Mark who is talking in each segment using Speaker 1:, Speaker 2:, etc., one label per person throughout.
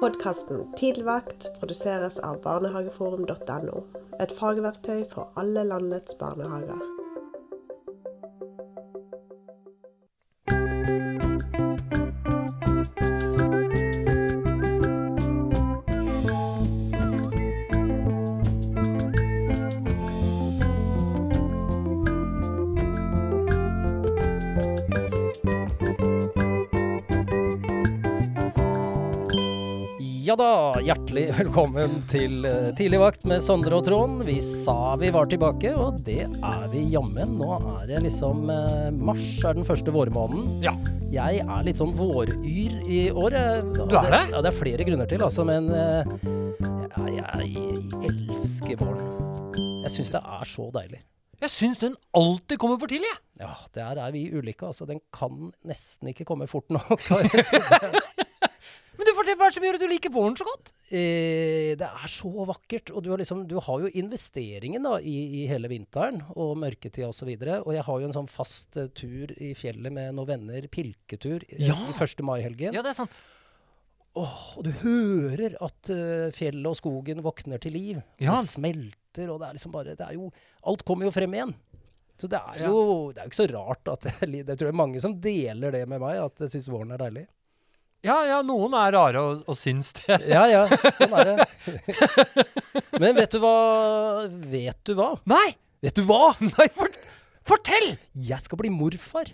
Speaker 1: Podkasten Tidligvakt produseres av barnehageforum.no. Et fagverktøy for alle landets barnehager.
Speaker 2: Ja da, hjertelig velkommen til eh, Tidlig vakt med Sondre og Trond. Vi sa vi var tilbake, og det er vi jammen. Nå er det liksom eh, Mars er den første vårmåneden.
Speaker 3: Ja.
Speaker 2: Jeg er litt sånn våryr i år. jeg. Og
Speaker 3: Du er det?
Speaker 2: Ja, det er flere grunner til, altså, men eh, jeg, jeg elsker våren. Jeg syns det er så deilig.
Speaker 3: Jeg syns den alltid kommer for tidlig, jeg.
Speaker 2: Ja, der er vi ulike, altså. Den kan nesten ikke komme fort nok. Jeg synes
Speaker 3: Men du fortell hva er det som gjør at du liker våren så godt.
Speaker 2: Eh, det er så vakkert. Og du har, liksom, du har jo investeringen da, i, i hele vinteren og mørketida osv. Og, så og jeg har jo en sånn fast eh, tur i fjellet med noen venner, pilketur, eh,
Speaker 3: Ja!
Speaker 2: i 1. mai-helgen.
Speaker 3: Ja, det er sant.
Speaker 2: Og du hører at eh, fjellet og skogen våkner til liv.
Speaker 3: Ja.
Speaker 2: Det smelter, og det er liksom bare det er jo, Alt kommer jo frem igjen. Så det er
Speaker 3: Ja.
Speaker 2: jo, det er jo ikke så rart at jeg li- Det tror jeg er mange som deler det med meg, at jeg syns våren er deilig.
Speaker 3: Ja, ja, noen er rare og, og syns det.
Speaker 2: Ja, ja. Sånn er det. Men vet du hva? Vet du hva?
Speaker 3: Nei!
Speaker 2: Vet du hva?
Speaker 3: Nei, fort- fortell!
Speaker 2: Jeg skal bli morfar.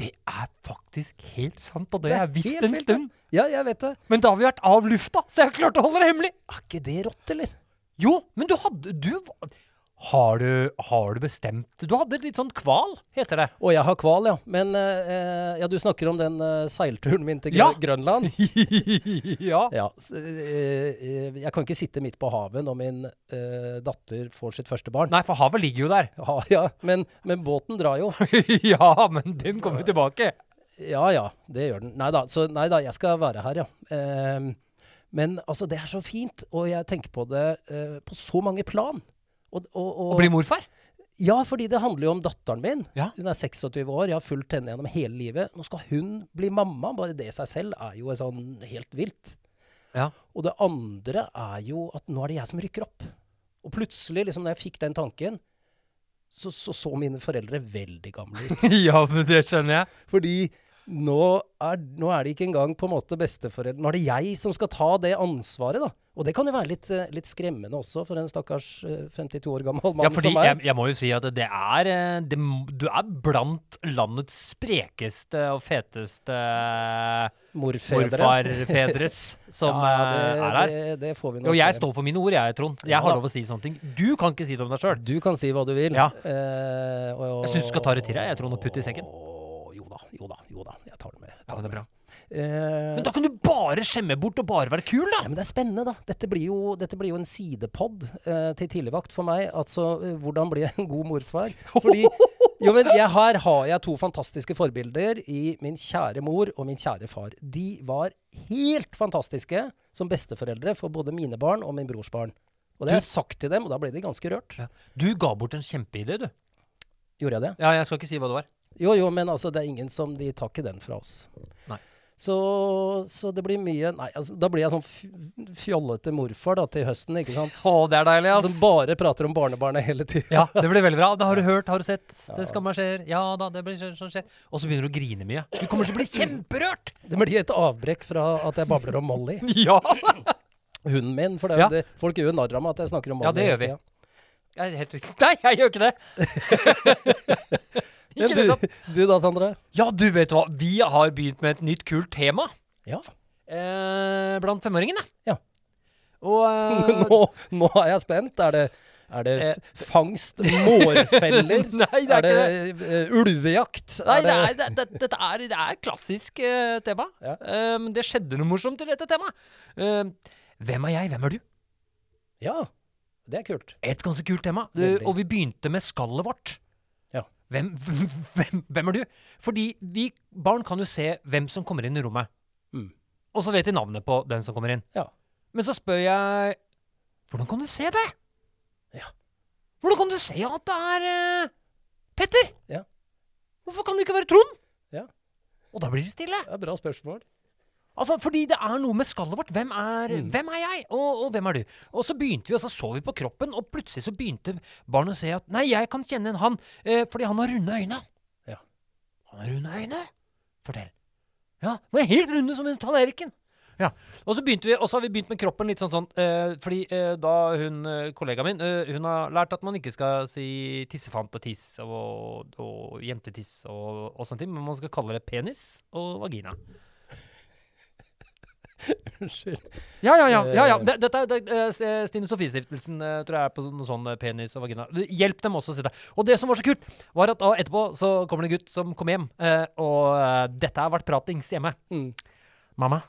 Speaker 3: Det er faktisk helt sant, og det
Speaker 2: Det
Speaker 3: har
Speaker 2: er
Speaker 3: jeg visst
Speaker 2: helt
Speaker 3: en
Speaker 2: vilt,
Speaker 3: stund.
Speaker 2: Ja, jeg vet det.
Speaker 3: Men da har vi vært av lufta, så jeg har klart å holde det hemmelig.
Speaker 2: Er ikke det rått, eller?
Speaker 3: Jo, men du hadde Du var- har du, har du bestemt Du hadde et litt sånn kval, heter det.
Speaker 2: Å, jeg har kval, ja. Men eh, ja, du snakker om den eh, seilturen min til Grø
Speaker 3: Ja.
Speaker 2: Grønland.
Speaker 3: ja.
Speaker 2: Ja, s- eh, eh, jeg kan ikke sitte midt på havet når min eh, datter får sitt første barn.
Speaker 3: Nei, for havet ligger jo der.
Speaker 2: Ja, ja. Men, men båten drar jo.
Speaker 3: ja, men den kommer jo tilbake.
Speaker 2: Ja ja, det gjør den. Nei da, så nei da, jeg skal være her, ja. Ehm, men altså, det er så fint, og jeg tenker på det eh, på så mange plan. Og, og, og,
Speaker 3: Å bli morfar?
Speaker 2: Ja, fordi det handler jo om datteren min.
Speaker 3: Ja.
Speaker 2: Hun er 26 år, jeg har fulgt henne gjennom hele livet. Nå skal hun bli mamma. Bare det i seg selv er jo sånn helt vilt.
Speaker 3: Ja.
Speaker 2: Og det andre er jo at nå er det jeg som rykker opp. Og plutselig, liksom, når jeg fikk den tanken, så så, så mine foreldre veldig gamle ut.
Speaker 3: ja, men det skjønner jeg.
Speaker 2: Fordi nå er, nå er det ikke engang på en måte besteforeldre. Nå er det jeg som skal ta det ansvaret, da. Og det kan jo være litt, eh, litt skremmende også for en stakkars eh, 52 år gammel mann
Speaker 3: Ja, fordi
Speaker 2: som meg.
Speaker 3: jeg, jeg må jo si at det er eh, det, m- Du er blant landets sprekeste og feteste
Speaker 2: Morfedre.
Speaker 3: morfarfedres som eh,
Speaker 2: det,
Speaker 3: er her.
Speaker 2: Det, det får vi nå
Speaker 3: Og jeg
Speaker 2: se.
Speaker 3: står for mine ord, jeg, Trond. Jeg
Speaker 2: Ja da.
Speaker 3: har lov å si sånne ting. Du kan ikke si det om deg sjøl.
Speaker 2: Du kan si hva du vil.
Speaker 3: Ja.
Speaker 2: Eh, og-
Speaker 3: Jeg synes du skal ta det til deg, jeg, Trond, og putte i sekken.
Speaker 2: Åh, Jo da, jo da. jo da, Jeg tar det med. Jeg
Speaker 3: Ja,
Speaker 2: tar
Speaker 3: men det er bra.
Speaker 2: Eh,
Speaker 3: Men da kan du bare skjemme bort og bare være kul, da!
Speaker 2: Ja, men det er spennende, da. Dette blir jo, dette blir jo en sidepod eh, til tidligvakt for meg. Altså, eh, hvordan bli en god morfar? Fordi, jo, men jeg, her har jeg to fantastiske forbilder i min kjære mor og min kjære far. De var helt fantastiske som besteforeldre for både mine barn og min brors barn. Og det har jeg sagt til dem, og da ble de ganske rørt.
Speaker 3: Du ga bort en kjempeidé, du.
Speaker 2: Gjorde jeg det?
Speaker 3: Ja, jeg skal ikke si hva det var.
Speaker 2: Jo, jo, men altså, det er ingen som De tar ikke den fra oss.
Speaker 3: Nei.
Speaker 2: Så, så det blir mye Nei, altså, da blir jeg sånn f- fjollete morfar da til høsten, ikke sant?
Speaker 3: Å, det er deilig, ass.
Speaker 2: Som Altså, bare prater om barnebarnet hele tida.
Speaker 3: Ja, det blir veldig bra. Det har du hørt, har du sett. Det skammer skjer. Ja da, det blir sånn skjer. Og så begynner du å grine mye. Du kommer til å bli kjemperørt!
Speaker 2: Det blir et avbrekk fra at jeg babler om Molly,
Speaker 3: Ja!
Speaker 2: hunden min. For det er jo
Speaker 3: Ja.
Speaker 2: det, folk gjør jo narr av meg at jeg snakker om Molly.
Speaker 3: Ja, det gjør vi.
Speaker 2: hele tiden.
Speaker 3: Jeg er helt riktig. Nei, jeg gjør ikke det! ikke det
Speaker 2: Men
Speaker 3: da.
Speaker 2: du, du da, Sondre?
Speaker 3: Ja, du vet hva. Vi har begynt med et nytt kult tema
Speaker 2: Ja.
Speaker 3: eh, blant femåringene.
Speaker 2: Ja.
Speaker 3: Og eh,
Speaker 2: Nå, nå er jeg spent. Er det, er det f- fangst? Mårfeller?
Speaker 3: Nei, Eh, det er
Speaker 2: det,
Speaker 3: ikke
Speaker 2: eh, ulvejakt?
Speaker 3: Nei,
Speaker 2: Er
Speaker 3: det er, det, det, dette er, det er klassisk eh, tema.
Speaker 2: Ja.
Speaker 3: Eh, men det skjedde noe morsomt i dette temaet. Eh, hvem er jeg, hvem er du?
Speaker 2: Ja. Det er kult.
Speaker 3: Et ganske kult tema. Du,
Speaker 2: Veldig.
Speaker 3: og vi begynte med skallet vårt.
Speaker 2: Ja.
Speaker 3: Hvem, hvem, hvem er du? Fordi vi barn kan jo se hvem som kommer inn i rommet.
Speaker 2: Mm.
Speaker 3: Og så vet de navnet på den som kommer inn.
Speaker 2: Ja.
Speaker 3: Men så spør jeg Hvordan kan du se det?
Speaker 2: Ja.
Speaker 3: Hvordan kan du se at det er eh, Petter?
Speaker 2: Ja.
Speaker 3: Hvorfor kan det ikke være Trond?
Speaker 2: Ja.
Speaker 3: Og da blir det stille.
Speaker 2: Det er et bra spørsmål.
Speaker 3: Altså, fordi det er noe med skallet vårt. Hvem er, hvem er jeg, og, og hvem er du? Og så begynte vi, og så så vi på kroppen, og plutselig så begynte barnet å se at nei, jeg kan kjenne en han, eh, fordi han har runde øyne.
Speaker 2: Ja.
Speaker 3: Han har runde øyne? Fortell. Ja, de er helt runde som en tallerken. Ja, Og så begynte vi, og så har vi begynt med kroppen litt sånn sånn, eh, fordi eh, da hun, eh, kollegaen min, eh, hun har lært at man ikke skal si tissefant og tiss og, og jentetiss og, og sånne ting, men man skal kalle det penis og vagina.
Speaker 2: Unnskyld.
Speaker 3: Ja, ja, ja.
Speaker 2: Eh,
Speaker 3: ja, ja. Det, dette er det, eh, S- eh, Stine Sofie-stiftelsen eh, tror jeg er på noe sånn eh, penis og vagina. Hjelp dem også å sitte. Og det som var så kult, var at da etterpå så kommer det en gutt som kom hjem, eh, og eh, dette har vært pratings hjemme.
Speaker 2: Mm.
Speaker 3: Mamma,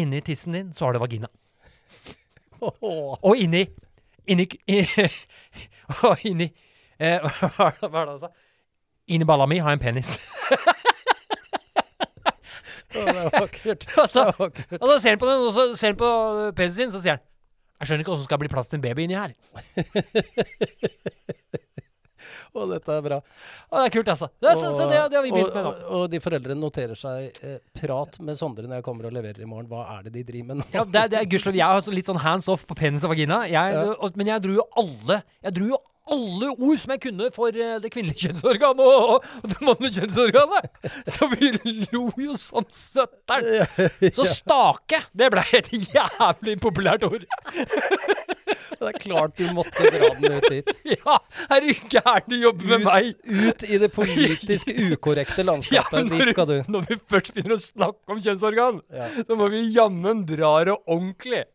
Speaker 3: inni tissen din så har du vagina.
Speaker 2: Åh.
Speaker 3: Og inni Inni i- Og inni eh, Hva er det hva er det han sa? Inni balla mi har jeg en penis.
Speaker 2: Å, det er vakkert.
Speaker 3: altså,
Speaker 2: Det er vakkert.
Speaker 3: Og da ser han på den, og så ser han på øh, penisen sin, så sier han Jeg skjønner ikke hvordan det skal bli plass til en baby inni her.
Speaker 2: Å, dette er bra.
Speaker 3: Og det er kult, altså. Det er, så, så det, det har vi begynt med nå.
Speaker 2: og, og, og de foreldrene noterer seg eh, 'prat med Sondre når jeg kommer og leverer i morgen'. Hva er det de driver med nå?
Speaker 3: Ja, det, er- det er gudskjelov. Jeg er altså litt sånn hands off på penis og vagina. Jeg,
Speaker 2: Ja.
Speaker 3: og, men jeg dro jo alle Jeg dro jo alle ord som jeg kunne for eh, det kvinnelige kjønnsorganet og, og, og det mannlige kjønnsorganet! Så vi lo jo som søtteren! Så stake, det ble et jævlig populært ord.
Speaker 2: Det er klart du måtte dra den ut dit.
Speaker 3: Ja, er du gæren du jobber med meg?
Speaker 2: Ut, ut i det politisk ukorrekte
Speaker 3: Ja,
Speaker 2: landskapet.
Speaker 3: når,
Speaker 2: dit skal du.
Speaker 3: når vi først begynner å snakke om kjønnsorgan,
Speaker 2: Ja.
Speaker 3: så må vi jammen dra det ordentlig.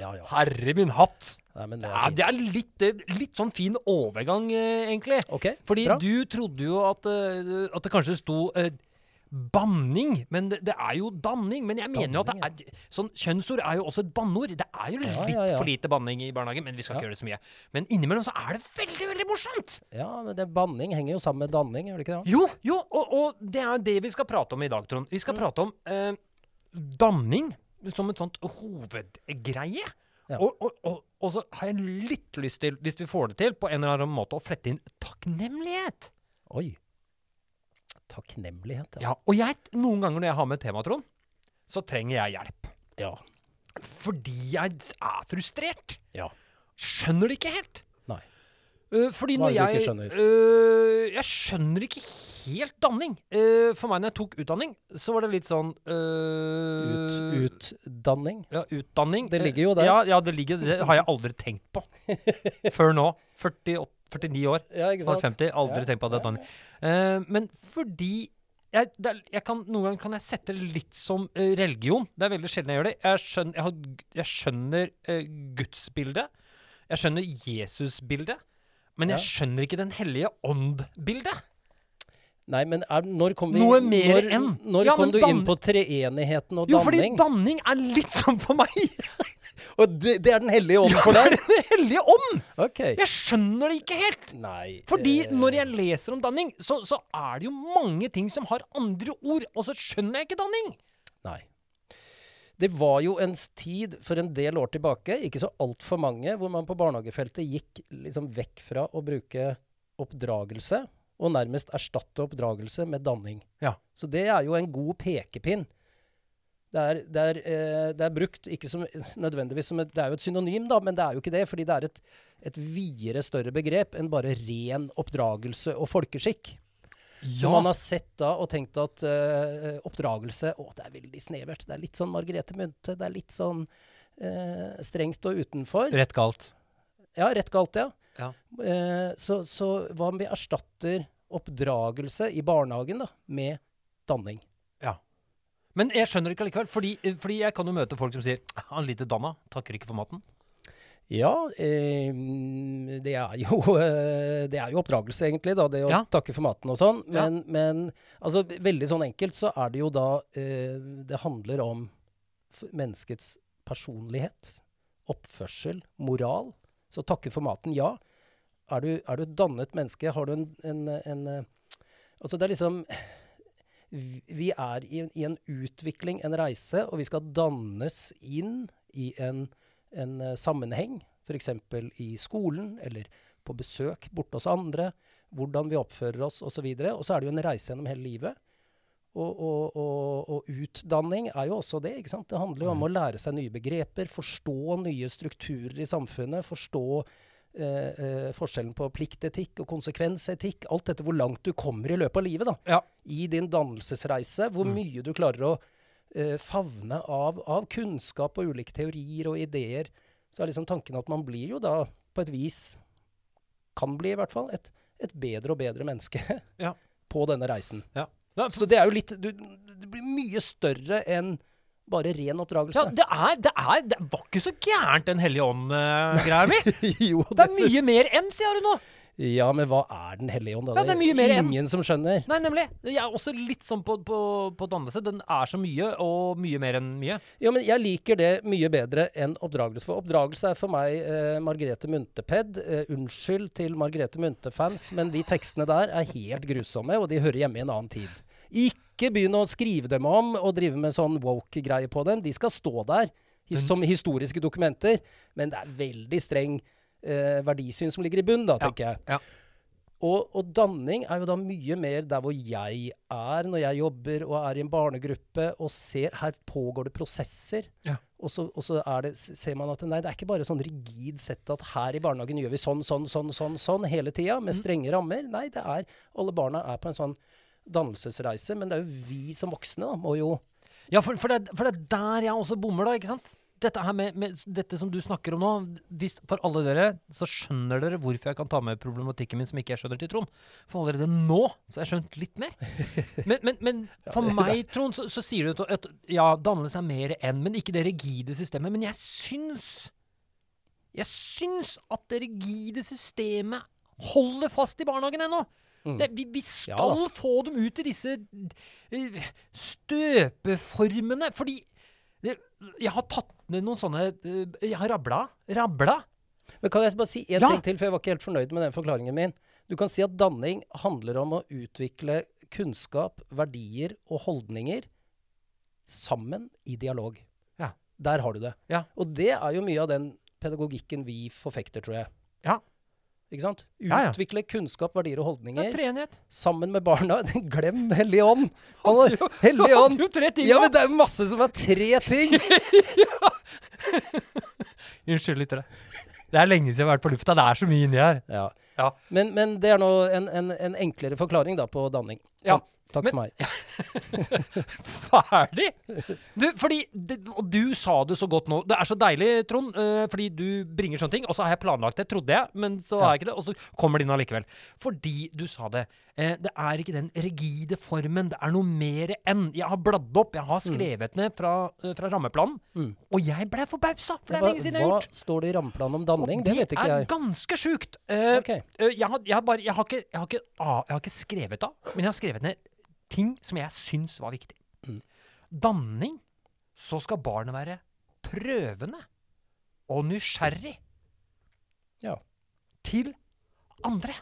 Speaker 2: Ja, ja.
Speaker 3: Herre min hatt!
Speaker 2: Nei, men det
Speaker 3: Ja,
Speaker 2: er fint.
Speaker 3: det er litt, det- litt sånn fin overgang, eh, egentlig.
Speaker 2: Ok,
Speaker 3: Fordi
Speaker 2: bra.
Speaker 3: du trodde jo at, eh, at det kanskje sto eh, banning, men det, det er jo danning. Men jeg mener jo at det er, sånn, kjønnsord er jo også et banneord. Det er jo litt
Speaker 2: Ja, ja, ja.
Speaker 3: for lite banning i barnehagen, men vi skal ikke gjøre det så mye. Men innimellom så er det veldig, veldig morsomt!
Speaker 2: Ja, men det Banning henger jo sammen med danning, gjør det ikke det?
Speaker 3: Jo, jo, og, og det er jo det vi skal prate om i dag, Trond. Vi
Speaker 2: Mm.
Speaker 3: skal prate om eh, danning som et sånt hovedgreie.
Speaker 2: Ja.
Speaker 3: Og, og, og, og så har jeg litt lyst til, hvis vi får det til, på en eller annen måte å flette inn takknemlighet.
Speaker 2: Oi. Takknemlighet, ja.
Speaker 3: Ja, og jeg, noen ganger når jeg har med et tema, Trond, så trenger jeg hjelp.
Speaker 2: Ja.
Speaker 3: Fordi jeg er frustrert.
Speaker 2: ja.
Speaker 3: Skjønner det ikke helt.
Speaker 2: Nei.
Speaker 3: Øh, fordi
Speaker 2: Hva
Speaker 3: når
Speaker 2: er det
Speaker 3: jeg
Speaker 2: du ikke skjønner?
Speaker 3: øh, jeg skjønner ikke helt danning. Øh, for meg når jeg tok utdanning, så var det litt sånn
Speaker 2: Ut,
Speaker 3: øh,
Speaker 2: utdanning.
Speaker 3: Ja, utdanning.
Speaker 2: Det
Speaker 3: Eh,
Speaker 2: ligger jo der.
Speaker 3: Ja, ja, det ligger Det har jeg aldri tenkt på før nå. 48, 49 år,
Speaker 2: Ja, ikke
Speaker 3: snart
Speaker 2: sant?
Speaker 3: 50. Aldri
Speaker 2: Ja,
Speaker 3: tenkt på at det er
Speaker 2: ja,
Speaker 3: danning. Eh, men fordi jeg, det er, jeg kan, Noen ganger kan jeg sette det litt som eh, religion. Det er veldig sjelden jeg gjør det. Jeg skjønner, jeg har, jeg skjønner eh, gudsbildet. Jeg skjønner Jesusbildet. Men jeg skjønner ikke Den hellige ånd-bildet.
Speaker 2: Nei, men er, når kom vi
Speaker 3: Noe mer
Speaker 2: når,
Speaker 3: enn.
Speaker 2: Når
Speaker 3: Ja,
Speaker 2: kom
Speaker 3: men
Speaker 2: du inn
Speaker 3: dan-
Speaker 2: på treenigheten og
Speaker 3: Jo, fordi
Speaker 2: danning?
Speaker 3: danning er litt sånn for meg!
Speaker 2: og det, det er Den hellige ånd for
Speaker 3: Det
Speaker 2: deg?
Speaker 3: er Den hellige ånd!
Speaker 2: Ok.
Speaker 3: Jeg skjønner det ikke helt!
Speaker 2: Nei
Speaker 3: Fordi
Speaker 2: eh,
Speaker 3: når jeg leser om danning, så, så er det jo mange ting som har andre ord, og så skjønner jeg ikke danning.
Speaker 2: Nei. Det var jo en tid for en del år tilbake, ikke så altfor mange, hvor man på barnehagefeltet gikk liksom vekk fra å bruke oppdragelse, og nærmest erstatte oppdragelse med danning.
Speaker 3: Ja.
Speaker 2: Så det er jo en god pekepinn. Det er, det er, eh, det er brukt ikke som, nødvendigvis som et, Det er jo et synonym, da, men det er jo ikke det. Fordi det er et, et videre, større begrep enn bare ren oppdragelse og folkeskikk. Så man har sett da og tenkt at eh, oppdragelse Å, det er veldig snevert. Det er litt sånn Margrethe Munthe. Det er litt sånn eh, strengt og utenfor.
Speaker 3: Rett galt.
Speaker 2: Ja, rett galt, ja.
Speaker 3: Ja.
Speaker 2: Eh, så, så hva om vi erstatter oppdragelse i barnehagen da, med danning?
Speaker 3: Men jeg skjønner ikke allikevel, fordi, eh, fordi jeg kan jo møte folk som sier Han lite danna, takker ikke for maten.
Speaker 2: Ja, eh, det, er jo, eh, det er jo oppdragelse, egentlig, da, det å
Speaker 3: Ja.
Speaker 2: takke for maten og sånn.
Speaker 3: Ja.
Speaker 2: Men, men altså, ve- veldig sånn enkelt så er det jo da eh, Det handler om f menneskets personlighet, oppførsel, moral. Så takke for maten, ja. Er du, er du et dannet menneske, har du en, en, en eh, Altså, det er liksom vi vi er i, en- i en utvikling, en reise, og vi skal dannes inn i en, en eh, sammenheng, f.eks. i skolen eller på besøk borte hos andre, hvordan vi oppfører oss osv. Og så videre. Og så er det jo en reise gjennom hele livet. og, og, og, og utdanning er jo også det. ikke sant? Det handler jo om å lære seg nye begreper, forstå nye strukturer i samfunnet, forstå eh, eh, forskjellen på pliktetikk og konsekvensetikk. Alt dette hvor langt du kommer i løpet av livet. da.
Speaker 3: Ja.
Speaker 2: I din dannelsesreise, hvor mye du klarer å eh, favne av, av kunnskap og ulike teorier og ideer. Så er liksom tanken at man blir jo da på et vis, kan bli i hvert fall, et, et bedre og bedre menneske
Speaker 3: Ja.
Speaker 2: på denne reisen.
Speaker 3: Ja. Ja,
Speaker 2: Så det er jo litt du, Det blir mye større enn bare ren
Speaker 3: Ja,
Speaker 2: oppdragelse.
Speaker 3: det, er, det, er, det var ikke så gærent, den hellige ånd-greia mi.
Speaker 2: jo,
Speaker 3: Det er mye mer enn, sier du nå.
Speaker 2: ja, men hva er Den hellige ånd? da?
Speaker 3: Ja, det er mye mer enn-
Speaker 2: Ingen som skjønner.
Speaker 3: Nei, nemlig. Jeg er også litt sånn på, på, på dannelse. Den er så mye, og mye mer enn mye.
Speaker 2: Ja, men jeg liker det mye bedre enn oppdragelse. For oppdragelse er for meg eh, Margrethe Munthe-ped. Eh, unnskyld til Margrethe Munthe-fans, men de tekstene der er helt grusomme, og de hører hjemme i en annen tid. Ikke begynn å skrive dem om og drive med sånn woke-greie på dem. De skal stå der his som historiske dokumenter, men det er veldig streng eh, verdisyn som ligger i bunnen, da, tenker jeg.
Speaker 3: Ja.
Speaker 2: Og, og danning er jo da mye mer der hvor jeg er når jeg jobber og er i en barnegruppe og ser her pågår det prosesser.
Speaker 3: Ja.
Speaker 2: Og så, og så er det, s- ser man at nei, det er ikke bare sånn rigid sett at her i barnehagen gjør vi sånn, sånn, sånn, sånn, sånn hele tida med strenge rammer. Nei, det er alle barna er på en sånn dannelsesreise, men det er jo vi som voksne da, må jo
Speaker 3: Ja, for, for, det, er- for det er der jeg også bommer, da, ikke sant? Dette, her med, med, dette som du snakker om nå, hvis, for alle dere, så skjønner dere hvorfor jeg kan ta med problematikken min som ikke jeg skjønner til Trond. For allerede nå så har jeg skjønt litt mer. Men, men, men for meg, Trond, så, så sier du at ja, dannelse er mer enn, men ikke det rigide systemet. Men jeg syns Jeg syns at det rigide systemet holder fast i barnehagen ennå. Det, vi, vi
Speaker 2: Mm. Ja
Speaker 3: skal
Speaker 2: da.
Speaker 3: få dem ut i disse eh, støpeformene. Fordi det, jeg har tatt ned noen sånne eh, Jeg har rabla. Rabla.
Speaker 2: Men kan jeg bare si én
Speaker 3: Ja!
Speaker 2: ting til, for jeg var ikke helt fornøyd med den forklaringen min. Du kan si at danning handler om å utvikle kunnskap, verdier og holdninger sammen i dialog.
Speaker 3: Ja.
Speaker 2: Der har du det.
Speaker 3: Ja.
Speaker 2: Og det er jo mye av den pedagogikken vi forfekter, tror jeg.
Speaker 3: Ja.
Speaker 2: Ikke sant?
Speaker 3: Ja, ja.
Speaker 2: Utvikle kunnskap, verdier og
Speaker 3: Det er
Speaker 2: holdninger
Speaker 3: treenighet.
Speaker 2: sammen med barna. Glem Hellig Ånd! Han
Speaker 3: Hadde jo-
Speaker 2: er- Hellig
Speaker 3: hadde
Speaker 2: Ånd!
Speaker 3: jo tre ting,
Speaker 2: Ja,
Speaker 3: da.
Speaker 2: men det er jo masse som er tre ting!
Speaker 3: Unnskyld, lyttere. Det er lenge siden jeg har vært på lufta. Det er så mye inni her.
Speaker 2: Ja.
Speaker 3: Ja.
Speaker 2: Men, men det er nå en, en, en enklere forklaring da på danning.
Speaker 3: Ja.
Speaker 2: Sånn. Takk
Speaker 3: Men-
Speaker 2: for meg.
Speaker 3: Ferdig! Du, fordi, det, og du sa det så godt nå. Det er så deilig, Trond, eh, fordi du bringer sånne ting. Og så har jeg planlagt det, trodde jeg, men så har jeg ikke det. Og så kommer det inn allikevel. Fordi du sa det. Eh, det er ikke den rigide formen. Det er noe mer enn. Jeg har bladd opp, jeg har skrevet ned fra, eh, fra rammeplanen. Og jeg ble forbausa, for det er
Speaker 2: Hva-
Speaker 3: lenge siden jeg har
Speaker 2: hva
Speaker 3: gjort.
Speaker 2: står det i rammeplanen om danning? Det, vet ikke
Speaker 3: er
Speaker 2: jeg.
Speaker 3: ganske sjukt. Eh,
Speaker 2: Ok.
Speaker 3: eh, jeg, har, jeg, har bare, jeg, har ikke, jeg, har ikke, ah, jeg har ikke skrevet av, men jeg har skrevet ned ting som jeg syns var viktig.
Speaker 2: Mm.
Speaker 3: Danning, så skal barnet være prøvende og nysgjerrig
Speaker 2: Ja.
Speaker 3: til andre.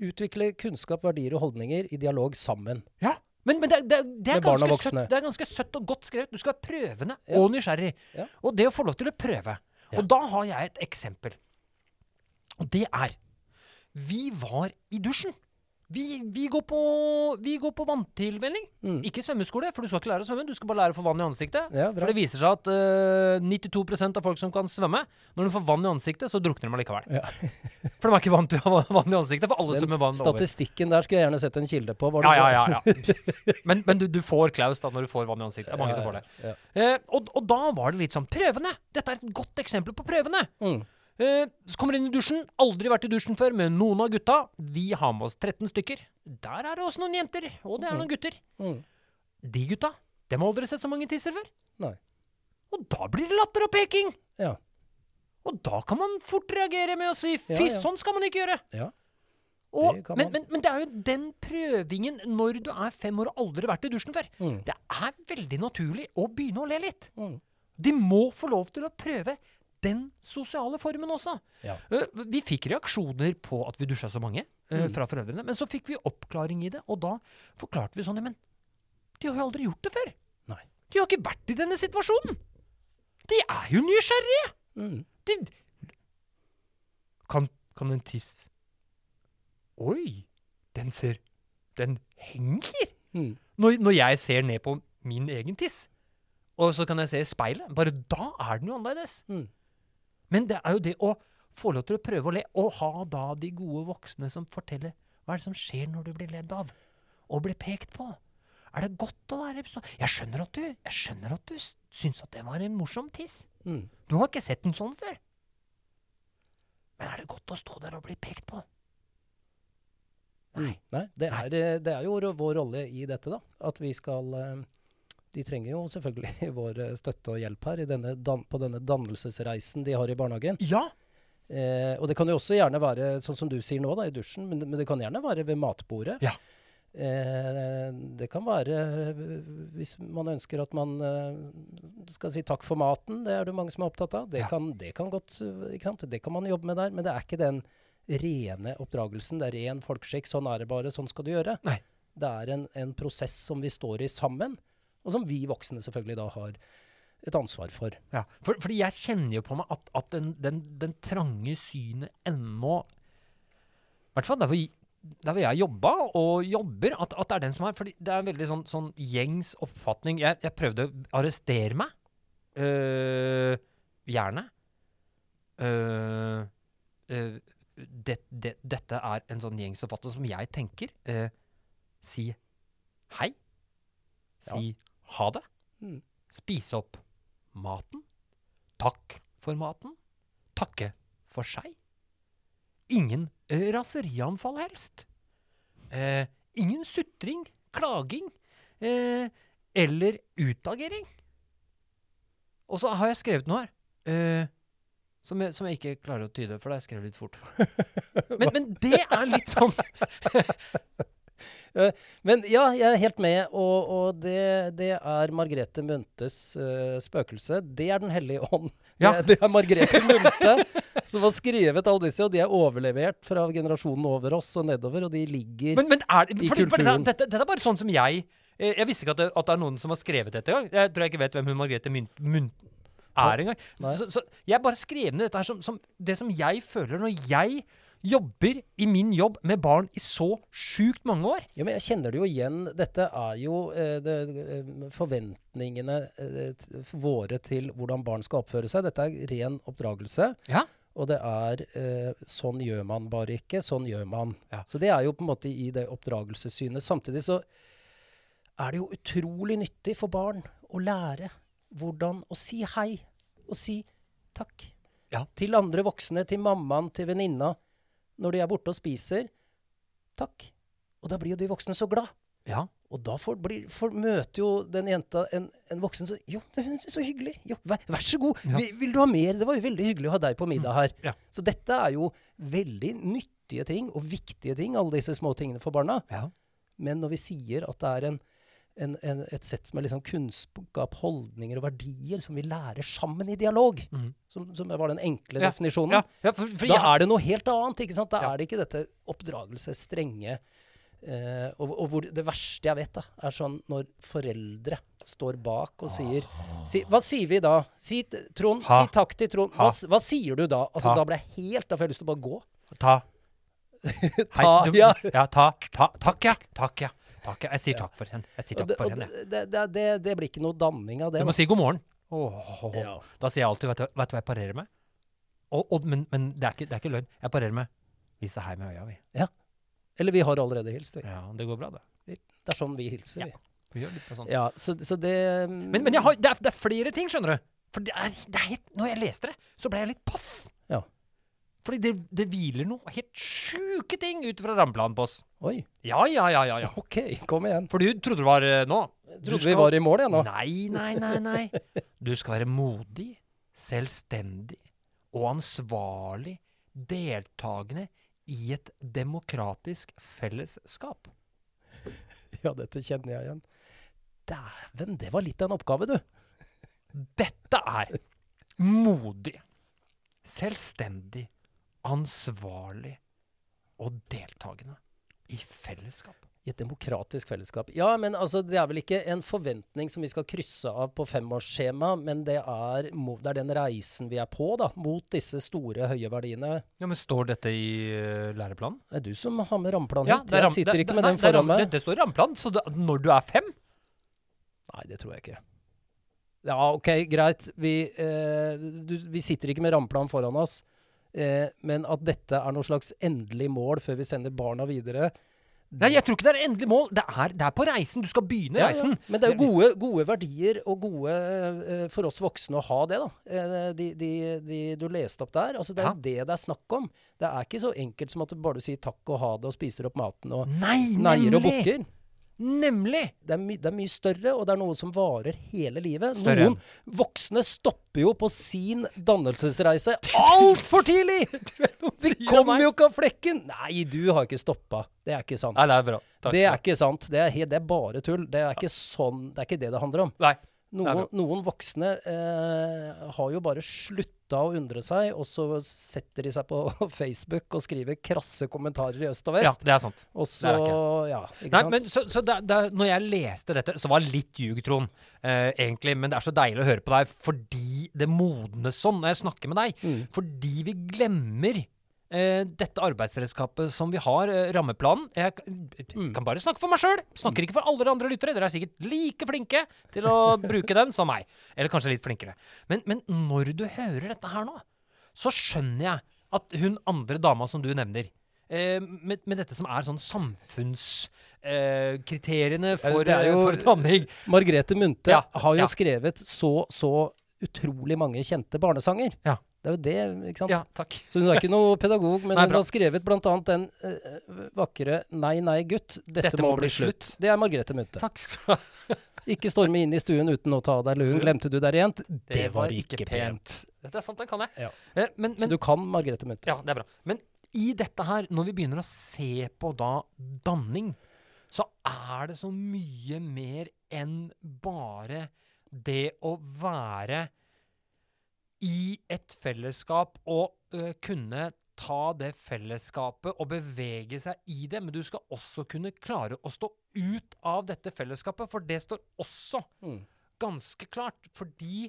Speaker 2: Utvikle kunnskap, verdier og holdninger i dialog sammen.
Speaker 3: Ja. Men, men det, det, det, er
Speaker 2: Med barn og
Speaker 3: ganske
Speaker 2: voksne.
Speaker 3: søtt, det er ganske søtt og godt skrevet. Du skal være prøvende
Speaker 2: Ja.
Speaker 3: og nysgjerrig.
Speaker 2: Ja.
Speaker 3: Og det å få lov til å prøve. Og da har jeg et eksempel. Og det er Vi var i dusjen. Vi, vi, går, på, vi går på vanntilvenning. Ikke svømmeskole, for du skal ikke lære å svømme. Du skal bare lære å få vann i ansiktet.
Speaker 2: Mm. Ja, bra.
Speaker 3: For det viser seg at eh, 92 av folk som kan svømme, når de får vann i ansiktet, så drukner de allikevel.
Speaker 2: Ja.
Speaker 3: For de er ikke vant til å ha vann i ansiktet, for alle
Speaker 2: Den
Speaker 3: svømmer vann over.
Speaker 2: statistikken der skulle jeg gjerne sett en kilde på. Var det
Speaker 3: Ja, ja, ja. ja. Men, men du, du får Klaus da når du får vann i ansiktet. Det er mange som får det.
Speaker 2: Ja.
Speaker 3: Eh, og, og da var det litt sånn prøvende. Dette er et godt eksempel på prøvende.
Speaker 2: Mm.
Speaker 3: Eh, så kommer inn i dusjen. Aldri vært i dusjen før med noen av gutta. Vi har med oss 13 stykker. Der er det også noen jenter, og det er noen gutter.
Speaker 2: Mm.
Speaker 3: De gutta, dem har aldri sett så mange tisser før.
Speaker 2: Nei.
Speaker 3: Og da blir det latter og peking.
Speaker 2: Ja.
Speaker 3: Og da kan man fort reagere med å si fy,
Speaker 2: Ja, ja.
Speaker 3: sånn skal man ikke gjøre.
Speaker 2: Ja.
Speaker 3: Og,
Speaker 2: Det kan
Speaker 3: men,
Speaker 2: man.
Speaker 3: men, men det er jo den prøvingen når du er fem år og aldri vært i dusjen før.
Speaker 2: Mm.
Speaker 3: Det er veldig naturlig å begynne å le litt.
Speaker 2: Mm.
Speaker 3: De må få lov til å prøve den sosiale formen også.
Speaker 2: Ja.
Speaker 3: Eh, Vi fikk reaksjoner på at vi dusja så mange eh,
Speaker 2: Mm.
Speaker 3: fra foreldrene, men så fikk vi oppklaring i det, og da forklarte vi sånn, men de har jo aldri gjort det før.
Speaker 2: Nei.
Speaker 3: De har ikke vært i denne situasjonen. De er jo nysgjerrige.
Speaker 2: Mm.
Speaker 3: De... Kan, kan en tiss Oi, den ser Den henger!
Speaker 2: Mm.
Speaker 3: når, når jeg ser ned på min egen tiss, og så kan jeg se i speilet, bare da er den jo annerledes.
Speaker 2: Mm.
Speaker 3: Men det er jo det å få lov til å prøve å le, og ha da de gode voksne som forteller hva er det som skjer når du blir ledd av, og blir pekt på. Er det godt å være så Jeg skjønner at du, jeg skjønner at du s- syns at det var en morsom tiss.
Speaker 2: Mm.
Speaker 3: Du har ikke sett den sånn før. Men er det godt å stå der og bli pekt på? Nei.
Speaker 2: Nei, det er, eh, det er jo ro- vår rolle i dette, da. At vi skal eh, De trenger jo selvfølgelig vår eh, støtte og hjelp her i denne dan på denne dannelsesreisen de har i barnehagen.
Speaker 3: Ja.
Speaker 2: Eh, og det kan jo også gjerne være sånn som du sier nå, da, i dusjen, men, det- men det kan gjerne være ved matbordet.
Speaker 3: Ja.
Speaker 2: Eh, det kan være eh, hvis man ønsker at man eh, skal si takk for maten, det er det mange som er opptatt av. Det,
Speaker 3: Ja.
Speaker 2: kan, det kan godt, eh, ikke sant? det kan man jobbe med der, men det er ikke den rene oppdragelsen. Det er ren folkeskikk. Sånn er det bare, sånn skal du gjøre.
Speaker 3: Nei.
Speaker 2: Det er en, en prosess som vi står i sammen, og som vi voksne selvfølgelig da har et ansvar for.
Speaker 3: ja. For, fordi jeg kjenner jo på meg at, at den, den, den trange synet ennå I hvert fall der hvor, der hvor jeg jobba og jobber, at, at det er den som er Fordi det er en veldig sånn, sånn gjengs oppfatning. Jeg, jeg prøvde å arrestere meg. øh, gjerne. Øh, øh, det, det, dette er en sånn gjengs oppfatning som jeg tenker. øh, si hei. Si ha det.
Speaker 2: Mm.
Speaker 3: Spise opp maten. Takk for maten. Takke for seg. Ingen eh, raserianfall helst. Eh, ingen sutring, klaging eh, eller utagering. Og så har jeg skrevet noe her. Eh, som jeg, som jeg ikke klarer å tyde, for da har jeg skrevet litt fort. Men, men det er litt sånn
Speaker 2: Men ja, jeg er helt med, og, og det, det er Margrethe Munthes eh, spøkelse. Det er Den hellige ånd.
Speaker 3: Ja.
Speaker 2: Det, det er Margrethe Munthe som har skrevet alle disse, og de er overlevert fra generasjonen over oss og nedover, og de ligger
Speaker 3: Men, men er det,
Speaker 2: I
Speaker 3: fordi, fordi
Speaker 2: kulturen.
Speaker 3: dette, dette, dette er bare sånn som jeg eh, Jeg visste ikke at det, at det er noen som har skrevet dette engang. Jeg tror jeg ikke vet hvem hun Margrethe Mynt, Mynt er engang.
Speaker 2: Nei.
Speaker 3: Så, så jeg bare skrev ned dette her som, som det som jeg føler når jeg jobber i min jobb med barn i så sjukt mange år.
Speaker 2: ja, men Jeg kjenner det jo igjen. Dette er jo eh, det, eh, forventningene eh, t- våre til hvordan barn skal oppføre seg. Dette er ren oppdragelse.
Speaker 3: Ja.
Speaker 2: Og det er eh, sånn gjør man bare ikke, sånn gjør man.
Speaker 3: Ja.
Speaker 2: Så det er jo på en måte i det oppdragelsessynet. Samtidig så er det jo utrolig nyttig for barn å lære hvordan å si hei og si takk.
Speaker 3: Ja.
Speaker 2: Til andre voksne, til mammaen, til venninna. Når de er borte og spiser, takk. Og da blir jo de voksne så glad.
Speaker 3: Ja.
Speaker 2: Og da får, blir, får, møter jo den jenta en, en voksen som Jo, det er så hyggelig. Jo, vær, vær så god.
Speaker 3: Ja. Mm.
Speaker 2: Vil, vil du ha mer? Det var jo veldig hyggelig å ha deg på middag her.
Speaker 3: Ja.
Speaker 2: Så dette er jo veldig nyttige ting og viktige ting, alle disse små tingene for barna.
Speaker 3: ja.
Speaker 2: Men når vi sier at det er en, en, en, et sett med liksom kunnskap, holdninger og verdier som vi lærer sammen i dialog,
Speaker 3: Mhm.
Speaker 2: som, som var den enkle
Speaker 3: Ja,
Speaker 2: definisjonen,
Speaker 3: ja, ja for, for
Speaker 2: da
Speaker 3: jeg,
Speaker 2: er det noe helt annet. ikke sant? Da
Speaker 3: Ja.
Speaker 2: er det ikke dette oppdragelse, strenge eh, og, og hvor Det verste jeg vet, da, er sånn når foreldre står bak og sier si, Hva sier vi da? Si, t- Trond,
Speaker 3: Ah. Ha.
Speaker 2: si takk til Trond.
Speaker 3: Ha.
Speaker 2: Hva, s- hva sier du da? Altså,
Speaker 3: Ta.
Speaker 2: Da ble jeg helt Da får jeg lyst til å bare gå.
Speaker 3: Ta.
Speaker 2: Ta,
Speaker 3: Hei, du-
Speaker 2: ja.
Speaker 3: ja. Ta, ta. Takk, ja. Takk, ja. Takk, ja. Jeg sier takk for henne. Jeg sier
Speaker 2: Og
Speaker 3: takk
Speaker 2: det,
Speaker 3: for
Speaker 2: og
Speaker 3: henne. jeg.
Speaker 2: det, det, det, det blir ikke noe danning av det.
Speaker 3: Du må
Speaker 2: da.
Speaker 3: si god morgen. Åh.
Speaker 2: Ja.
Speaker 3: Da sier jeg alltid Vet du, vet du hva jeg parerer med? Og, og, men men det, er ikke, det er ikke løgn. Jeg parerer med Vi ser hei med øya, vi.
Speaker 2: Eller vi har allerede hilst. Vi.
Speaker 3: Ja, Det går bra, det.
Speaker 2: Det er sånn vi hilser.
Speaker 3: Ja.
Speaker 2: vi.
Speaker 3: Vi gjør litt på sånn.
Speaker 2: Ja, så, så det
Speaker 3: Men, men jeg har, det, er, det er flere ting, skjønner du. For det er, det er helt, når jeg leste det, så ble jeg litt paff.
Speaker 2: Ja.
Speaker 3: Fordi det, det hviler noe helt sjuke ting ut fra rammeplanen på oss.
Speaker 2: Oi,
Speaker 3: Ja, ja, ja, ja, ja.
Speaker 2: OK, kom igjen.
Speaker 3: For du trodde det var eh, nå. Du
Speaker 2: Trodde vi
Speaker 3: skal-
Speaker 2: var i mål, jeg nå.
Speaker 3: Nei, nei, nei, nei. Du skal være modig, selvstendig og ansvarlig deltakende i et demokratisk fellesskap.
Speaker 2: Ja, dette kjenner jeg igjen. Dæven, det var litt av en oppgave, du.
Speaker 3: Dette er modig, selvstendig, ansvarlig og deltakende i fellesskap.
Speaker 2: I et demokratisk fellesskap. Ja, men altså, det er vel ikke en forventning som vi skal krysse av på femårsskjema, men det er, mo- det er den reisen vi er på, da, mot disse store, høye verdiene.
Speaker 3: Ja, men Står dette i eh, læreplanen?
Speaker 2: Det er du som har med rammeplanen
Speaker 3: Ja,
Speaker 2: hit.
Speaker 3: det er ram-
Speaker 2: jeg sitter
Speaker 3: det-
Speaker 2: ikke
Speaker 3: det-
Speaker 2: med
Speaker 3: nei,
Speaker 2: den
Speaker 3: det er
Speaker 2: foran
Speaker 3: ram-
Speaker 2: meg.
Speaker 3: Det, det står i rammeplanen, så det, når du er fem,
Speaker 2: Nei, det tror jeg ikke. Ja, OK, greit. Vi, eh, du, vi sitter ikke med rammeplan foran oss. Eh, men at dette er noe slags endelig mål før vi sender barna videre
Speaker 3: Nei, jeg tror ikke det er endelig mål. Det er, det er på reisen. Du skal begynne
Speaker 2: Ja, ja.
Speaker 3: reisen.
Speaker 2: Men det er jo gode, gode verdier og gode eh, for oss voksne å ha det, da. Eh, De, de, de du leste opp der. Altså, det er
Speaker 3: Ja.
Speaker 2: jo det det er snakk om. Det er ikke så enkelt som at du bare sier takk og ha det og spiser opp maten og
Speaker 3: Nei,
Speaker 2: neier og
Speaker 3: nemlig!
Speaker 2: bukker.
Speaker 3: Nemlig!
Speaker 2: Det er, my, det er mye større, og det er noe som varer hele livet.
Speaker 3: Større.
Speaker 2: Noen voksne stopper jo på sin dannelsesreise altfor tidlig! De
Speaker 3: sier om meg.
Speaker 2: kommer jo ikke av flekken! Nei, du har ikke stoppa. Det er ikke sant.
Speaker 3: Nei, det er bra. Takk.
Speaker 2: Det er ikke sant. Det er, he- det er bare tull. Det er ikke sånn, det er ikke det det handler om.
Speaker 3: Nei. Det
Speaker 2: Noen,
Speaker 3: er
Speaker 2: noen voksne eh, har jo bare slutta å undre seg, og så setter de seg på Facebook og skriver krasse kommentarer i øst og
Speaker 3: Ja,
Speaker 2: vest.
Speaker 3: det er sant.
Speaker 2: og
Speaker 3: det
Speaker 2: så,
Speaker 3: er det
Speaker 2: ja, ikke
Speaker 3: Nei,
Speaker 2: sant?
Speaker 3: men så, så da, da, når jeg leste dette, så var det litt ljug, Trond, eh, egentlig. Men det er så deilig å høre på deg fordi det modnes sånn når jeg snakker med deg.
Speaker 2: Mm.
Speaker 3: Fordi vi glemmer eh, dette arbeidsredskapet som vi har, eh, rammeplanen. Jeg k-
Speaker 2: Mm.
Speaker 3: kan bare snakke for meg sjøl. Snakker ikke for alle de andre lyttere. Dere er sikkert like flinke til å bruke den som meg. Eller kanskje litt flinkere. Men, men når du hører dette her nå, så skjønner jeg at hun andre dama som du nevner eh, med, med dette som er sånn samfunnskriteriene eh, kriteriene for,
Speaker 2: det er
Speaker 3: eh,
Speaker 2: jo-
Speaker 3: for danning
Speaker 2: Margrethe Munthe
Speaker 3: Ja,
Speaker 2: har jo
Speaker 3: ja.
Speaker 2: skrevet så, så utrolig mange kjente barnesanger.
Speaker 3: Ja.
Speaker 2: Det er jo det, ikke sant?
Speaker 3: Ja, takk.
Speaker 2: Så hun er ikke noe pedagog, men
Speaker 3: Nei,
Speaker 2: hun
Speaker 3: bra.
Speaker 2: har skrevet bl.a. den eh, vakre 'Nei, nei, gutt, dette, må, bli slutt'. Det er Margrethe Munthe.
Speaker 3: Takk skal du ha.
Speaker 2: Ikke storme inn i stuen uten å ta av deg luen. Glemte du der igjen? Det, var ikke pent.
Speaker 3: Dette er sant, den kan jeg.
Speaker 2: Ja.
Speaker 3: Eh, men,
Speaker 2: Så
Speaker 3: men,
Speaker 2: du kan Margrethe Munthe.
Speaker 3: ja, det er bra. Men i dette her, når vi begynner å se på da danning, så er det så mye mer enn bare det å være i et fellesskap og ø, kunne ta det fellesskapet og bevege seg i det, men du skal også kunne klare å stå ut av dette fellesskapet, for det står også
Speaker 2: Mm.
Speaker 3: ganske klart, fordi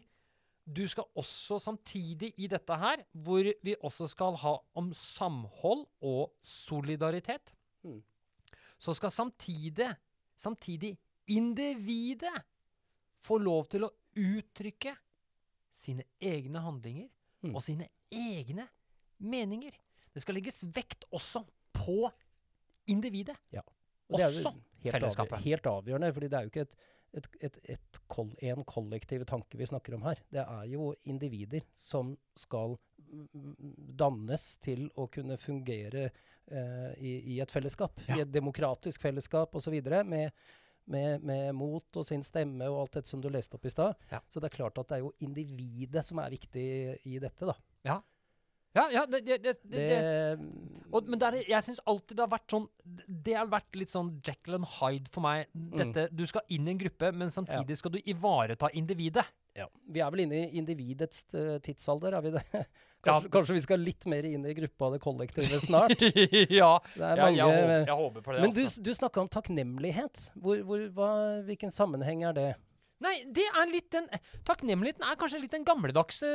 Speaker 3: du skal også samtidig i dette her, hvor vi også skal ha om samhold og solidaritet,
Speaker 2: Mm.
Speaker 3: så skal samtidig, samtidig individet få lov til å uttrykke sine egne handlinger
Speaker 2: Mm.
Speaker 3: og sine egne meninger. Det skal legges vekt også på individet.
Speaker 2: Og det er jo
Speaker 3: Også
Speaker 2: helt
Speaker 3: fellesskapet.
Speaker 2: Avgjørende, helt avgjørende, fordi det er jo ikke et, et, et, et koll, en kollektiv tanke vi snakker om her. Det er jo individer som skal mm, dannes til å kunne fungere eh, i, i et fellesskap. I et demokratisk fellesskap osv. Med, med, med mot og sin stemme og alt dette som du leste opp i stad.
Speaker 3: Ja.
Speaker 2: Så det er klart at det er jo individet som er viktig i dette, da.
Speaker 3: Ja, ja, det, det, det, det, det.
Speaker 2: Det,
Speaker 3: Og, men det er, jeg syns alltid det har vært sånn Det har vært litt sånn Jekyll and Hyde for meg.
Speaker 2: Mm.
Speaker 3: Dette, Du skal inn i en gruppe, men samtidig skal du ivareta individet.
Speaker 2: Ja. Vi er vel inne i individets eh, tidsalder, er vi det? Kanskje,
Speaker 3: Ja.
Speaker 2: kanskje vi skal litt mer inn i gruppa og det kollektive snart?
Speaker 3: ja,
Speaker 2: Det er
Speaker 3: ja, jeg,
Speaker 2: mange
Speaker 3: håper, jeg håper på det.
Speaker 2: Men du,
Speaker 3: altså.
Speaker 2: du snakka om takknemlighet. Hvor, hvor, hva, hvilken sammenheng er det?
Speaker 3: Nei, det er litt den Takknemligheten er kanskje litt den gamledagse,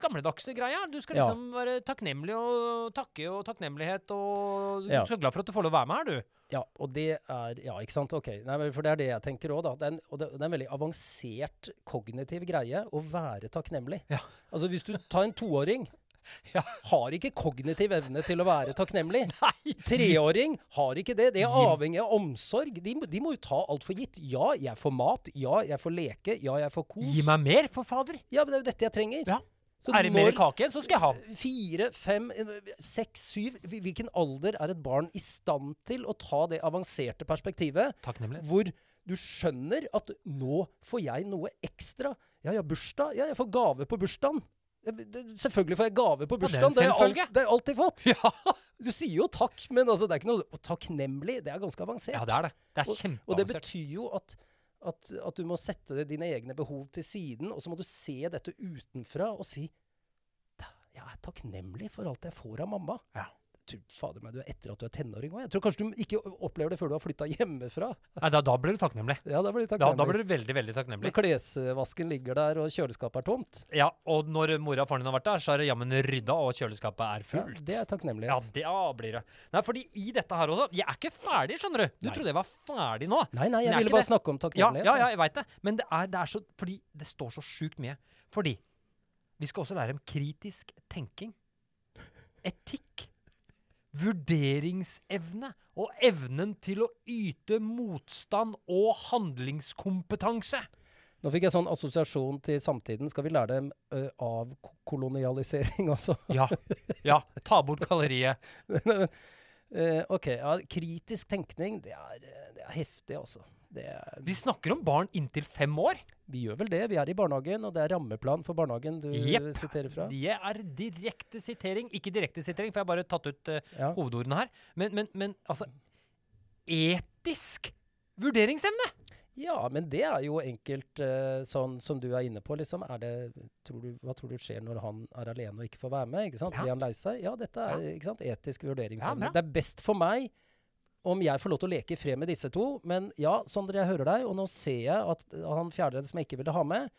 Speaker 3: gamledagse greia. Du skal
Speaker 2: Ja.
Speaker 3: liksom være takknemlig og takke og takknemlighet og Du
Speaker 2: Ja.
Speaker 3: skal være glad for at du får lov å være med her, du.
Speaker 2: Ja, og det er Ja, ikke sant? Ok. Nei, men for det er det jeg tenker òg, da. Det er en, og det, det er en veldig avansert kognitiv greie å være takknemlig.
Speaker 3: Ja.
Speaker 2: Altså, hvis du tar en toåring
Speaker 3: Ja.
Speaker 2: Har ikke kognitiv evne til å være takknemlig.
Speaker 3: Nei!
Speaker 2: Treåring har ikke det. Det er
Speaker 3: Jim.
Speaker 2: avhengig av omsorg. De, må- de må jo ta alt for gitt. Ja, jeg får mat. Ja, jeg får leke. Ja, jeg får kos.
Speaker 3: Gi meg mer, for fader!
Speaker 2: Ja, men det er jo dette jeg trenger.
Speaker 3: Ja.
Speaker 2: Så
Speaker 3: Er det mer
Speaker 2: når
Speaker 3: kake, så skal jeg ha.
Speaker 2: fire, fem, eh, seks, syv hvil- Hvilken alder er et barn i stand til å ta det avanserte perspektivet
Speaker 3: Takknemlighet.
Speaker 2: hvor du skjønner at nå får jeg noe ekstra. Ja, jeg har bursdag. Ja, jeg får gave på bursdagen. Det- det- Selvfølgelig får jeg gave på
Speaker 3: det er
Speaker 2: bursdagen.
Speaker 3: en
Speaker 2: det, har jeg
Speaker 3: selvfølge.
Speaker 2: alt- det har jeg alltid fått.
Speaker 3: Ja.
Speaker 2: Du sier jo takk, men altså, det er ikke noe og takknemlig. Det er ganske avansert.
Speaker 3: ja, det er det. Det er
Speaker 2: Og det
Speaker 3: kjempeavansert.
Speaker 2: betyr jo at, at, at du må sette det- dine egne behov til siden, og så må du se dette utenfra og si «Da, jeg er takknemlig for alt jeg får av mamma.
Speaker 3: Ja.
Speaker 2: tror fader meg du er etter at du er tenåring òg. Jeg tror kanskje du ikke opplever det før du har flytta hjemmefra.
Speaker 3: Nei, da, da blir du takknemlig.
Speaker 2: Ja, da blir du
Speaker 3: Da,
Speaker 2: takknemlig.
Speaker 3: da blir du veldig, veldig takknemlig.
Speaker 2: Når klesvasken ligger der, og kjøleskapet er tomt.
Speaker 3: Ja, og når mora og faren din har vært der, så er det jammen rydda, og kjøleskapet
Speaker 2: Ja,
Speaker 3: er fullt.
Speaker 2: det er takknemlig.
Speaker 3: Ja, det ja, blir det. Nei, fordi i dette her også Jeg er ikke ferdig, skjønner du. Du
Speaker 2: Nei.
Speaker 3: trodde jeg var ferdig nå.
Speaker 2: Nei, nei,
Speaker 3: Men
Speaker 2: jeg
Speaker 3: er ikke
Speaker 2: ville bare
Speaker 3: det-
Speaker 2: snakke om
Speaker 3: Ja,
Speaker 2: takknemlighet.
Speaker 3: ja, ja, jeg veit det. Men det er, det er så Fordi det står så sjukt mye. Fordi vi skal også lære om kritisk tenking. Etikk. Vurderingsevne. Og evnen til å yte motstand og handlingskompetanse.
Speaker 2: Nå fikk jeg sånn assosiasjon til samtiden. Skal vi lære dem ø, av ko- kolonialisering også?
Speaker 3: Ja. ja ta bort galleriet.
Speaker 2: Eh, ok, ja, kritisk tenkning, det er, eh, det er heftig, altså. Det er,
Speaker 3: Vi snakker om barn inntil fem år.
Speaker 2: vi gjør vel det. Vi er i barnehagen, og det er rammeplan for barnehagen du
Speaker 3: Jepp.
Speaker 2: siterer fra.
Speaker 3: Det er direkte sitering. Ikke direkte sitering, for jeg har bare tatt ut eh,
Speaker 2: Ja.
Speaker 3: hovedordene her. Men, men, men altså Etisk vurderingsevne!
Speaker 2: ja, men det er jo enkelt eh, sånn som du er inne på, liksom. Er det, tror du, hva tror du skjer når han er alene og ikke får være med? ikke sant?
Speaker 3: Ja.
Speaker 2: Blir han lei seg? Ja, dette er ikke sant? etisk vurderingsevne.
Speaker 3: Ja, bra.
Speaker 2: det er best for meg om jeg får lov til å leke i fred med disse to, men ja, Sondre, jeg hører deg, og nå ser jeg at eh, han fjerde som jeg ikke ville ha med,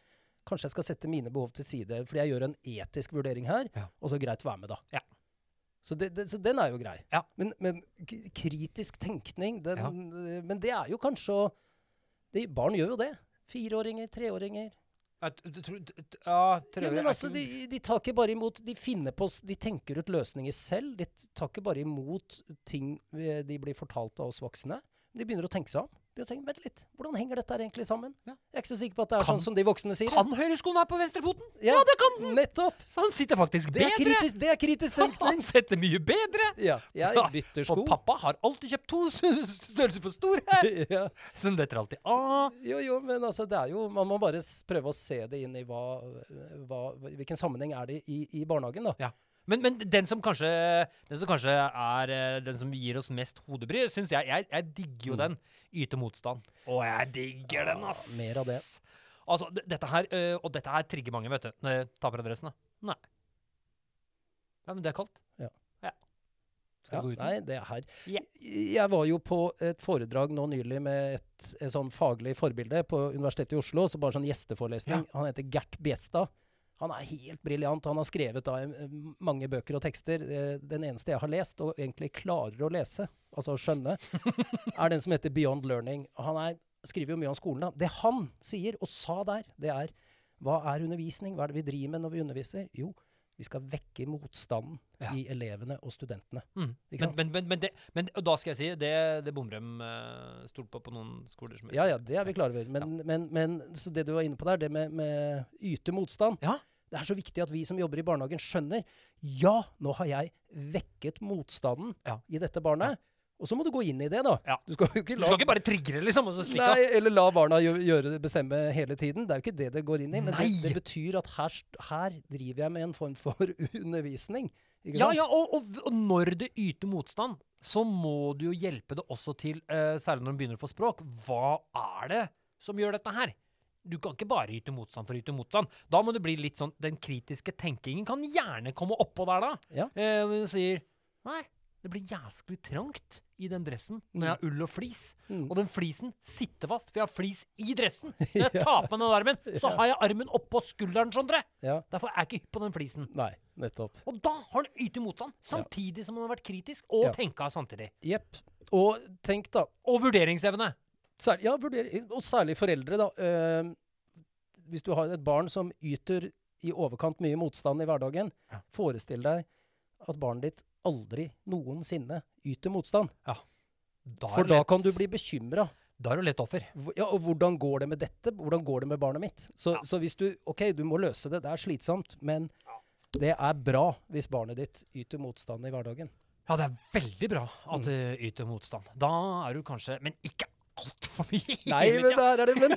Speaker 2: kanskje jeg skal sette mine behov til side, fordi jeg gjør en etisk vurdering her,
Speaker 3: Ja.
Speaker 2: og så greit være med, da.
Speaker 3: Ja.
Speaker 2: Så, det, det, så den er jo grei.
Speaker 3: Ja.
Speaker 2: Men, men k- kritisk tenkning, den, eh,
Speaker 3: Ja.
Speaker 2: men det er jo kanskje å det, Barn gjør jo det. Fireåringer, treåringer.
Speaker 3: Ja, t- t- tro- t- t- ja,
Speaker 2: Ja,
Speaker 3: trøyer
Speaker 2: men
Speaker 3: er
Speaker 2: altså,
Speaker 3: ikke-
Speaker 2: de, de tar ikke bare imot De finner på s- De tenker ut løsninger selv. De t- tar ikke bare imot ting eh, de blir fortalt av oss voksne. De begynner å tenke seg om. Begynner å tenke, Vent litt, hvordan henger dette her egentlig sammen?
Speaker 3: Ja.
Speaker 2: Jeg er ikke så sikker på at det er
Speaker 3: Kan-
Speaker 2: sånn som de voksne sier.
Speaker 3: Kan høyreskoen være på venstrefoten?
Speaker 2: Ja,
Speaker 3: Ja, det kan den!
Speaker 2: Nettopp!
Speaker 3: Så han sitter faktisk
Speaker 2: Det er
Speaker 3: bedre!
Speaker 2: kritisk, det er kritisk
Speaker 3: Han
Speaker 2: tenkning.
Speaker 3: setter mye bedre!
Speaker 2: Ja, jeg bytter sko.
Speaker 3: Og pappa har alltid kjøpt to størrelser for store!
Speaker 2: Ja.
Speaker 3: Så den detter alltid av.
Speaker 2: Jo, jo, men altså, det er jo Man må bare s- prøve å se det inn i hva, hva Hvilken sammenheng er det i, i barnehagen, da?
Speaker 3: Ja. Men, men den, som kanskje, den som kanskje er eh, den som gir oss mest hodebry, syns jeg, jeg Jeg digger jo den. Yte motstand. Å, jeg digger den, ass!
Speaker 2: Mm. Ja, mer av det.
Speaker 3: Altså, d- dette her, eh, og dette her trigger mange, vet du. Når jeg Taper adressen, da. Nei. Nei, men det er kaldt.
Speaker 2: Ja.
Speaker 3: Skal jeg gå
Speaker 2: Ja,
Speaker 3: uten?
Speaker 2: nei, det er her.
Speaker 3: Ja.
Speaker 2: Jeg var jo på et foredrag nå nylig med et, et sånn faglig forbilde på Universitetet i Oslo. så bare sånn gjesteforelesning. Han heter Gert Bjestad. Han er helt briljant. Han har skrevet da, eh, mange bøker og tekster. Eh, Den eneste jeg har lest, og egentlig klarer å lese, altså å skjønne, er den som heter Beyond Learning. Og Han er, skriver jo mye om skolen. da. Det han sier, og sa der, det er hva er undervisning? Hva er det vi driver med når vi underviser? Jo, vi skal vekke motstanden
Speaker 3: Ja.
Speaker 2: i elevene og studentene.
Speaker 3: Mm.
Speaker 2: Ikke
Speaker 3: Men,
Speaker 2: sant?
Speaker 3: men, men, men, det, men og da skal jeg si, det, det bommer dem eh, stort på på noen skoler som
Speaker 2: Ja, ja, det er vi klar over. Men, men, men så det du var inne på der, det med, med yte motstand
Speaker 3: Ja.
Speaker 2: Det er så viktig at vi som jobber i barnehagen, skjønner Ja, nå har jeg vekket motstanden
Speaker 3: Ja.
Speaker 2: i dette barnet. Og så må du gå inn i det, da.
Speaker 3: Ja.
Speaker 2: Du skal jo ikke
Speaker 3: Du
Speaker 2: la
Speaker 3: skal ikke bare trigge det, liksom. Og så slikke
Speaker 2: Nei, eller la barna gjø- gjøre det bestemme hele tiden. Det er jo ikke det det går inn i. Men det,
Speaker 3: Nei.
Speaker 2: det betyr at her, st- her driver jeg med en form for undervisning. Ikke
Speaker 3: Ja,
Speaker 2: sant?
Speaker 3: ja, og, og, og når det yter motstand, så må du jo hjelpe det også til, eh, særlig når du begynner å få språk, hva er det som gjør dette her? Du kan ikke bare yte motstand for å yte motstand. Da må det bli litt sånn Den kritiske tenkingen kan gjerne komme oppå der, da.
Speaker 2: Ja.
Speaker 3: Eh, men du sier Nei, det blir jæsklig trangt i den dressen når jeg har ull og flis.
Speaker 2: Mm.
Speaker 3: Og den flisen sitter fast, for jeg har flis i dressen. Når jeg tar på meg den armen, så har jeg armen oppå skulderen, Sondre.
Speaker 2: Ja.
Speaker 3: Derfor er jeg ikke hypp på den flisen.
Speaker 2: Nei, nettopp.
Speaker 3: Og da har han ytet motstand, samtidig som han har vært kritisk og
Speaker 2: Ja.
Speaker 3: tenka samtidig.
Speaker 2: Jepp. Og tenk, da.
Speaker 3: Og vurderingsevne.
Speaker 2: Særlig, ja, vurder- og særlig foreldre, da. Eh, hvis du har et barn som yter i overkant mye motstand i hverdagen,
Speaker 3: Ja.
Speaker 2: forestill deg at barnet ditt aldri noensinne yter motstand.
Speaker 3: Da er
Speaker 2: For
Speaker 3: det
Speaker 2: da
Speaker 3: lett-
Speaker 2: kan du bli bekymra.
Speaker 3: Da er du lett offer.
Speaker 2: Hv- Ja, og hvordan går det med dette? Hvordan går det med barnet mitt? Så,
Speaker 3: Ja.
Speaker 2: så hvis du OK, du må løse det, det er slitsomt, men det er bra hvis barnet ditt yter motstand i hverdagen.
Speaker 3: Ja, det er veldig bra at du yter motstand. Da er du kanskje Men ikke altfor mye.
Speaker 2: Nei,
Speaker 3: hele
Speaker 2: men
Speaker 3: tida.
Speaker 2: der er det Men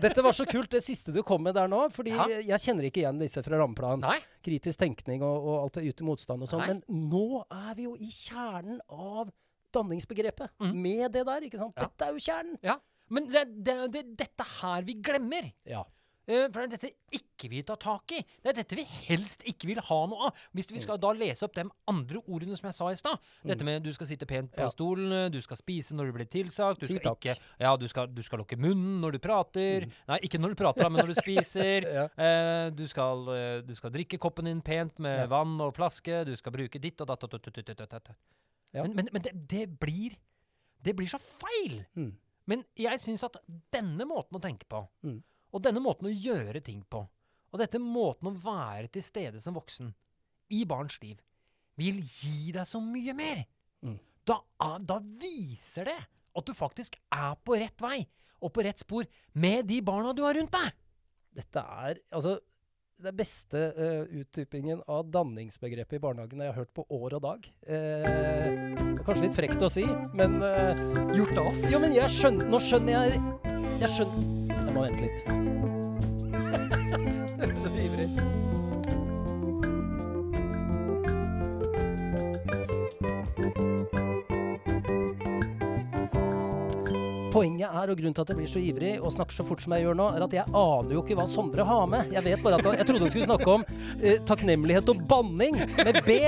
Speaker 2: dette var så kult, det siste du kom med der nå. Fordi
Speaker 3: Ja.
Speaker 2: jeg kjenner ikke igjen disse fra rammeplan.
Speaker 3: Nei.
Speaker 2: Kritisk tenkning og, og alt det ute motstand og sånn.
Speaker 3: Nei.
Speaker 2: Men nå er vi jo i kjernen av danningsbegrepet. Med det der, ikke sant.
Speaker 3: Mm. Ja.
Speaker 2: Dette er jo kjernen.
Speaker 3: Ja. Men det, det, det, dette her vi glemmer.
Speaker 2: Ja.
Speaker 3: Eh, For det er dette ikke vi tar tak i. Det er dette vi helst ikke vil ha noe av. Hvis vi skal da lese opp de andre ordene som jeg sa i stad. Dette med du skal sitte pent på
Speaker 2: Mm. Ja.
Speaker 3: stolen, du skal spise når du blir tilsagt, du
Speaker 2: Si
Speaker 3: skal
Speaker 2: takk. Mm.
Speaker 3: ikke Ja, du skal, du skal lukke munnen når du prater. Nei, ikke når du prater, da, men når du spiser.
Speaker 2: Ja.
Speaker 3: eh, du, skal, eh, du skal drikke koppen din pent med vann og flaske. Du skal bruke ditt og datt og tut, tut, tut, tut, tut, tut.
Speaker 2: Ja.
Speaker 3: Men, men, men det, det blir Det blir så feil!
Speaker 2: Mm.
Speaker 3: Men jeg syns at denne måten å tenke på,
Speaker 2: Mm.
Speaker 3: og denne måten å gjøre ting på, og dette måten å være til stede som voksen i barns liv, vil gi deg så mye mer.
Speaker 2: Mm.
Speaker 3: Da, er- da viser det at du faktisk er på rett vei og på rett spor med de barna du har rundt deg.
Speaker 2: Dette er altså den beste eh, utdypingen av danningsbegrepet i barnehagen jeg har hørt på år og dag. Eh, det er kanskje litt frekt å si, men eh,
Speaker 3: Gjort av oss.
Speaker 2: Jo, men jeg skjønner Nå skjønner jeg Jeg skjønner Jeg må vente litt. Du er så ivrig. Poenget er, og grunnen til at jeg blir så ivrig og snakker så fort som jeg gjør nå, er at jeg aner jo ikke hva Sondre har med. Jeg vet bare at han, jeg trodde han skulle snakke om eh, takknemlighet og banning med B.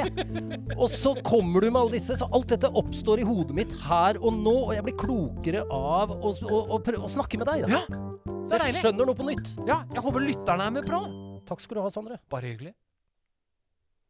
Speaker 2: Og så kommer du med alle disse. Så alt dette oppstår i hodet mitt her og nå, og jeg blir klokere av å, å, å, prø- å snakke med deg. Da.
Speaker 3: Ja,
Speaker 2: så jeg
Speaker 3: deilig.
Speaker 2: skjønner noe på nytt.
Speaker 3: ja, jeg håper lytterne er med på.
Speaker 2: Takk skal du ha, Sondre.
Speaker 3: Bare hyggelig.